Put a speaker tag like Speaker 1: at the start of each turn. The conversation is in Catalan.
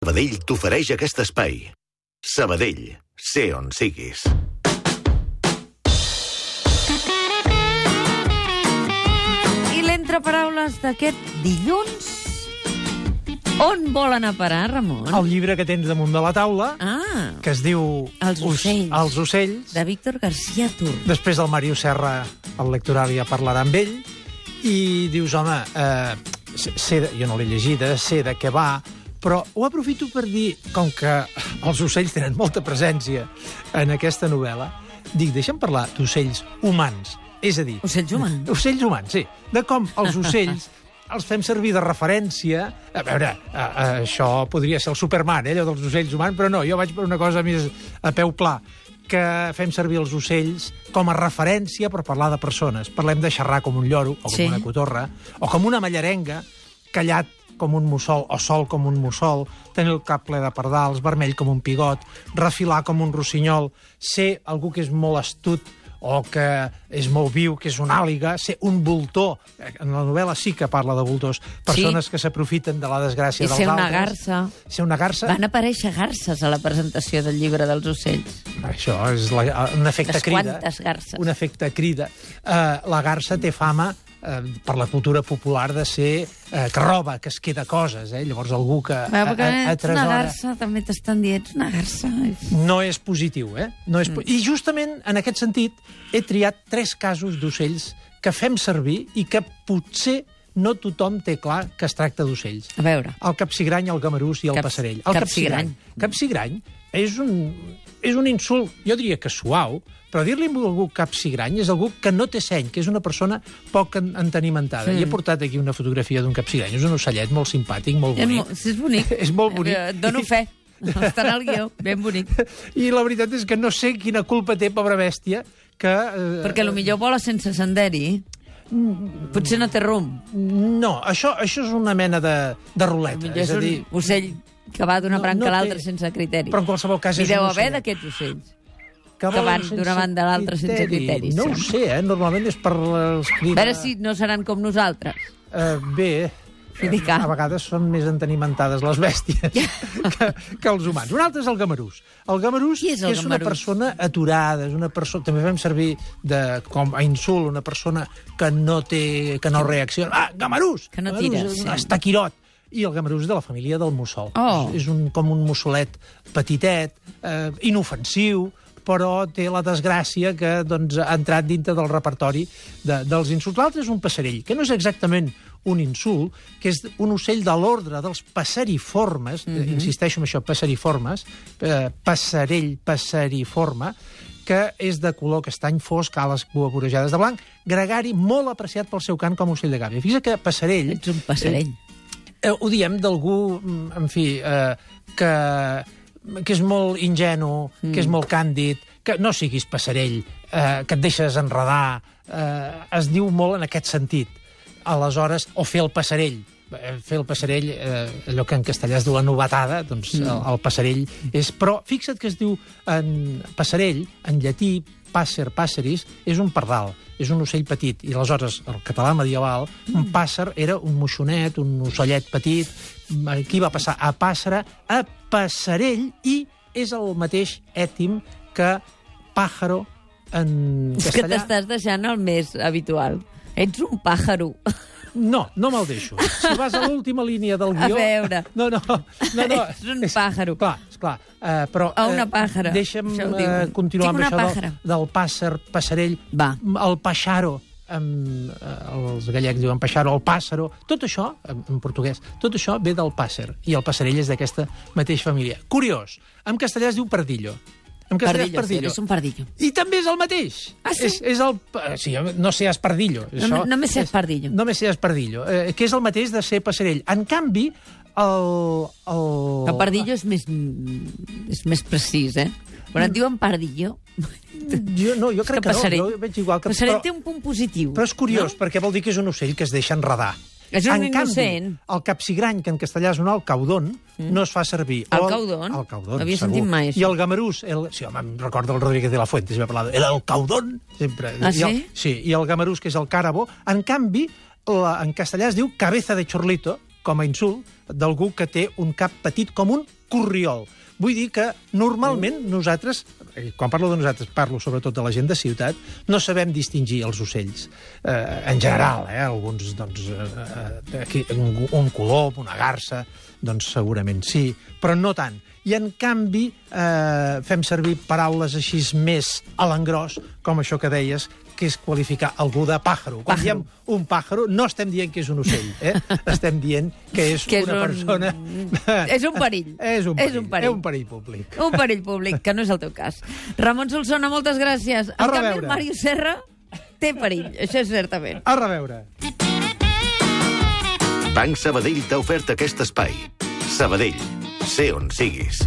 Speaker 1: Sabadell t'ofereix aquest espai. Sabadell, sé on siguis.
Speaker 2: I l'entreparaules d'aquest dilluns... On vol anar a parar, Ramon?
Speaker 3: el llibre que tens damunt de la taula,
Speaker 2: Ah,
Speaker 3: que es diu...
Speaker 2: Els
Speaker 3: Os-
Speaker 2: ocells.
Speaker 3: Els ocells.
Speaker 2: de Víctor García Tur.
Speaker 3: Després del Màrius Serra, el lectoral ja parlarà amb ell, i dius, home, eh, sé- sé de, jo no l'he llegida, sé de què va, però ho aprofito per dir, com que els ocells tenen molta presència en aquesta novel·la, dic, deixa'm parlar d'ocells humans. És a dir...
Speaker 2: Ocells humans?
Speaker 3: Ocells humans, sí. De com els ocells els fem servir de referència. A veure, a, a, això podria ser el Superman, eh, allò dels ocells humans, però no, jo vaig per una cosa més a peu pla, que fem servir els ocells com a referència per parlar de persones. Parlem de xerrar com un lloro, o com
Speaker 2: Sí.
Speaker 3: una cotorra, o com una mallarenga, callat com un mussol, o sol com un mussol, tenir el cap ple de pardals, vermell com un pigot, refilar com un rossinyol, ser algú que és molt astut o que és molt viu, que és una àliga, ser un voltor. Eh, En la novel·la sí que parla de voltors. Persones que s'aprofiten de la desgràcia
Speaker 2: I
Speaker 3: dels
Speaker 2: ser una
Speaker 3: altres.
Speaker 2: garça.
Speaker 3: Ser una garça.
Speaker 2: Van aparèixer garces a la presentació del llibre dels ocells.
Speaker 3: Això és la, un efecte
Speaker 2: Les
Speaker 3: crida.
Speaker 2: quantes garses.
Speaker 3: Un efecte crida. Uh, la garça té fama eh, per la cultura popular de ser eh, que roba, que es queda coses, eh? Llavors algú que
Speaker 2: Va, perquè ets una
Speaker 3: atresora-
Speaker 2: garça, també t'estan dient, ets una garça.
Speaker 3: no és positiu, eh? No és
Speaker 2: Mm.
Speaker 3: po I justament en aquest sentit he triat tres casos d'ocells que fem servir i que potser no tothom té clar que es tracta d'ocells.
Speaker 2: A veure,
Speaker 3: El capsigrany, el gamarús i el
Speaker 2: Cap-
Speaker 3: passarell. El
Speaker 2: capsigrany.
Speaker 3: Capsigrany és un, és un insult, jo diria que suau, però dir-li a algú capsigrany és algú que no té seny, que és una persona poc en- entenimentada.
Speaker 2: Hmm.
Speaker 3: I he portat aquí una fotografia d'un capsigrany. És un ocellet molt simpàtic, molt
Speaker 2: és,
Speaker 3: bonic.
Speaker 2: mo és bonic.
Speaker 3: És molt bonic.
Speaker 2: Eh, Et dono fe. Està en el guió, ben bonic.
Speaker 3: I la veritat és que no sé quina culpa té, pobra bèstia, que... Eh,
Speaker 2: Perquè lo millor vola sense senderi. Potser no té rumb.
Speaker 3: No, això, això és una mena de, de ruleta.
Speaker 2: Millor és
Speaker 3: és a
Speaker 2: un
Speaker 3: dir,
Speaker 2: ocell que va d'una
Speaker 3: No,
Speaker 2: branca
Speaker 3: no
Speaker 2: a l'altra
Speaker 3: té-
Speaker 2: sense criteri.
Speaker 3: però en qualsevol cas
Speaker 2: Hi
Speaker 3: és
Speaker 2: deu
Speaker 3: un
Speaker 2: haver
Speaker 3: ocellet.
Speaker 2: d'aquests ocells.
Speaker 3: que volen
Speaker 2: van
Speaker 3: sense
Speaker 2: d'una banda a l'altra sense criteris,
Speaker 3: No ho
Speaker 2: sembla.
Speaker 3: sé, eh? normalment és per els
Speaker 2: A
Speaker 3: crida...
Speaker 2: veure si no seran com nosaltres.
Speaker 3: Eh, bé,
Speaker 2: Criticar.
Speaker 3: a vegades són més entenimentades les bèsties que, que els humans. Un altre és el gamarús. El gamarús
Speaker 2: Qui és el
Speaker 3: és una
Speaker 2: gamarús?
Speaker 3: persona aturada, és una persona... També fem servir de, com a insult una persona que no té... que no reacciona. Ah, gamarús!
Speaker 2: Que no
Speaker 3: Gamarús,
Speaker 2: tira,
Speaker 3: és un
Speaker 2: sí.
Speaker 3: Estaquirot. I el gamarús és de la família del mussol.
Speaker 2: Oh.
Speaker 3: És, és un, com un mussolet petitet, eh, inofensiu, però té la desgràcia que doncs, ha entrat dintre del repertori de, dels insults. L'altre és un passerell, que no és exactament un insult, que és un ocell de l'ordre dels passeriformes, mm -hmm. insisteixo en això, passeriformes, eh, passerell, passeriforme, que és de color castany fosc, ales cua vorejades de blanc, gregari, molt apreciat pel seu cant com a ocell de gàbia. Fixa que passerell...
Speaker 2: Ets un passarell.
Speaker 3: Eh, ho diem d'algú, mm, en fi, eh, que, que és molt ingenu, mm. que és molt càndid, que no siguis passarell, eh, que et deixes enredar. Eh, es diu molt en aquest sentit. Aleshores, o fer el passarell. Eh, Fer el passarell, eh, allò que en castellà es diu la novetada, doncs mm. el, el passarell és... Però fixa't que es diu en passarell, en llatí, pàsser, passeris, és un pardal és un ocell petit. I aleshores, el català medieval, un pàsser era un moixonet, un ocellet petit. Aquí va passar a pàssera, a passarell, i és el mateix ètim que pàjaro en
Speaker 2: És que
Speaker 3: castellà.
Speaker 2: t'estàs deixant el més habitual. Ets un pàjaro.
Speaker 3: No, no me'l deixo. Si vas a l'última línia del
Speaker 2: A
Speaker 3: guió...
Speaker 2: veure.
Speaker 3: No, no, no. no.
Speaker 2: Ets un pàjaro.
Speaker 3: Clar, esclar. Uh, però,
Speaker 2: O una
Speaker 3: eh,
Speaker 2: pàjara.
Speaker 3: Deixa'm
Speaker 2: Això ho
Speaker 3: eh,
Speaker 2: diuen. Tinc
Speaker 3: continuar amb
Speaker 2: una
Speaker 3: això del,
Speaker 2: pàjara.
Speaker 3: del pàsser, passarell,
Speaker 2: Va.
Speaker 3: el peixaro, amb, eh, els gallecs diuen peixaro, el pàssaro, tot això, en, en portuguès, tot això ve del pàsser, i el passarell és d'aquesta mateixa família. Curiós, en castellà es diu pardillo. En castellà
Speaker 2: Pardillo, sí,
Speaker 3: és pardillo.
Speaker 2: és un pardillo.
Speaker 3: I també és el mateix.
Speaker 2: Ah, sí?
Speaker 3: És, és el, eh, sí, no seas pardillo. Això
Speaker 2: no me seas
Speaker 3: és-
Speaker 2: pardillo.
Speaker 3: No me seas pardillo, eh, que és el mateix de ser passerell. En canvi, el... El,
Speaker 2: El pardillo és més, és més precís, eh? Quan et diuen pardillo...
Speaker 3: Jo, no, jo
Speaker 2: és
Speaker 3: Mm. crec que,
Speaker 2: passarell,
Speaker 3: no, jo veig igual que...
Speaker 2: Passarell
Speaker 3: però-
Speaker 2: té un punt positiu.
Speaker 3: Però és curiós, no? perquè vol dir que és un ocell que es deixa enredar.
Speaker 2: És un
Speaker 3: en
Speaker 2: innocent.
Speaker 3: Canvi, el capsigrany, que en castellà és un alt caudón, mm. no es fa servir.
Speaker 2: El
Speaker 3: O
Speaker 2: caudón?
Speaker 3: El caudón,
Speaker 2: No havia
Speaker 3: segur.
Speaker 2: sentit mai això.
Speaker 3: I el gamarús... El, sí, home, em recorda el Rodríguez de la Fuente, si m'ha parlat. Era el caudón, sempre.
Speaker 2: Ah,
Speaker 3: I el,
Speaker 2: sí?
Speaker 3: sí, i el gamarús, que és el carabó. En canvi, la, en castellà es diu cabeza de chorlito, com a insult d'algú que té un cap petit com un corriol. Vull dir que normalment
Speaker 2: Mm.
Speaker 3: nosaltres, i quan parlo de nosaltres, parlo sobretot de la gent de ciutat, no sabem distingir els ocells. Eh, en general, eh, alguns, doncs, eh, aquí, un, un colom, una garça, doncs segurament sí, però no tant. I en canvi eh, fem servir paraules així més a l'engròs, com això que deies, que és qualificar algú de pàjaro. Quan
Speaker 2: Pàjaro.
Speaker 3: diem un pàjaro, no estem dient que és un ocell, eh? estem dient que és
Speaker 2: Que és
Speaker 3: una
Speaker 2: un-
Speaker 3: persona...
Speaker 2: és un perill.
Speaker 3: És un
Speaker 2: És
Speaker 3: perill.
Speaker 2: un perill.
Speaker 3: És un perill públic.
Speaker 2: Un perill públic, que no és el teu cas. Ramon Solsona, moltes gràcies.
Speaker 3: A
Speaker 2: En canvi,
Speaker 3: reveure.
Speaker 2: el Mario Serra té perill, això és certament.
Speaker 3: A reveure.
Speaker 1: Banc Sabadell t'ha ofert aquest espai. Sabadell, sé on siguis.